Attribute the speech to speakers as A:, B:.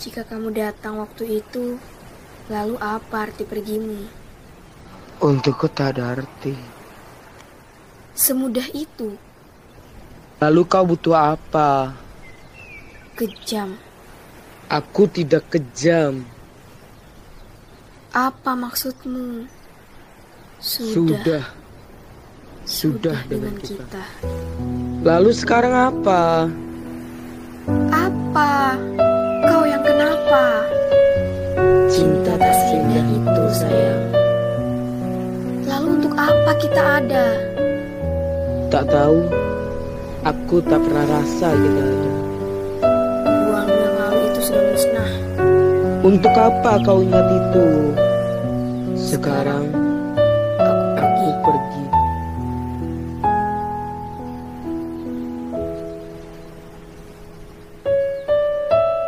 A: Jika kamu datang waktu itu, lalu apa arti pergimu?
B: Untukku tak ada arti.
A: Semudah itu,
B: Lalu kau butuh apa?
A: kejam.
B: Aku tidak kejam.
A: Apa maksudmu? Sudah,
B: Sudah. Sudah dengan kita.
A: kita.
B: Lalu sekarang apa?
A: Apa? Kau yang kenapa?
B: Cinta tak seindah itu sayang.
A: Lalu untuk apa kita ada?
B: Tak tahu. Aku tak pernah rasa gitu. kita ada.
A: Buang yang lalu itu sudah musnah.
B: Untuk apa kau ingat itu? Sekarang
A: Aku pergi.
B: aku pergi.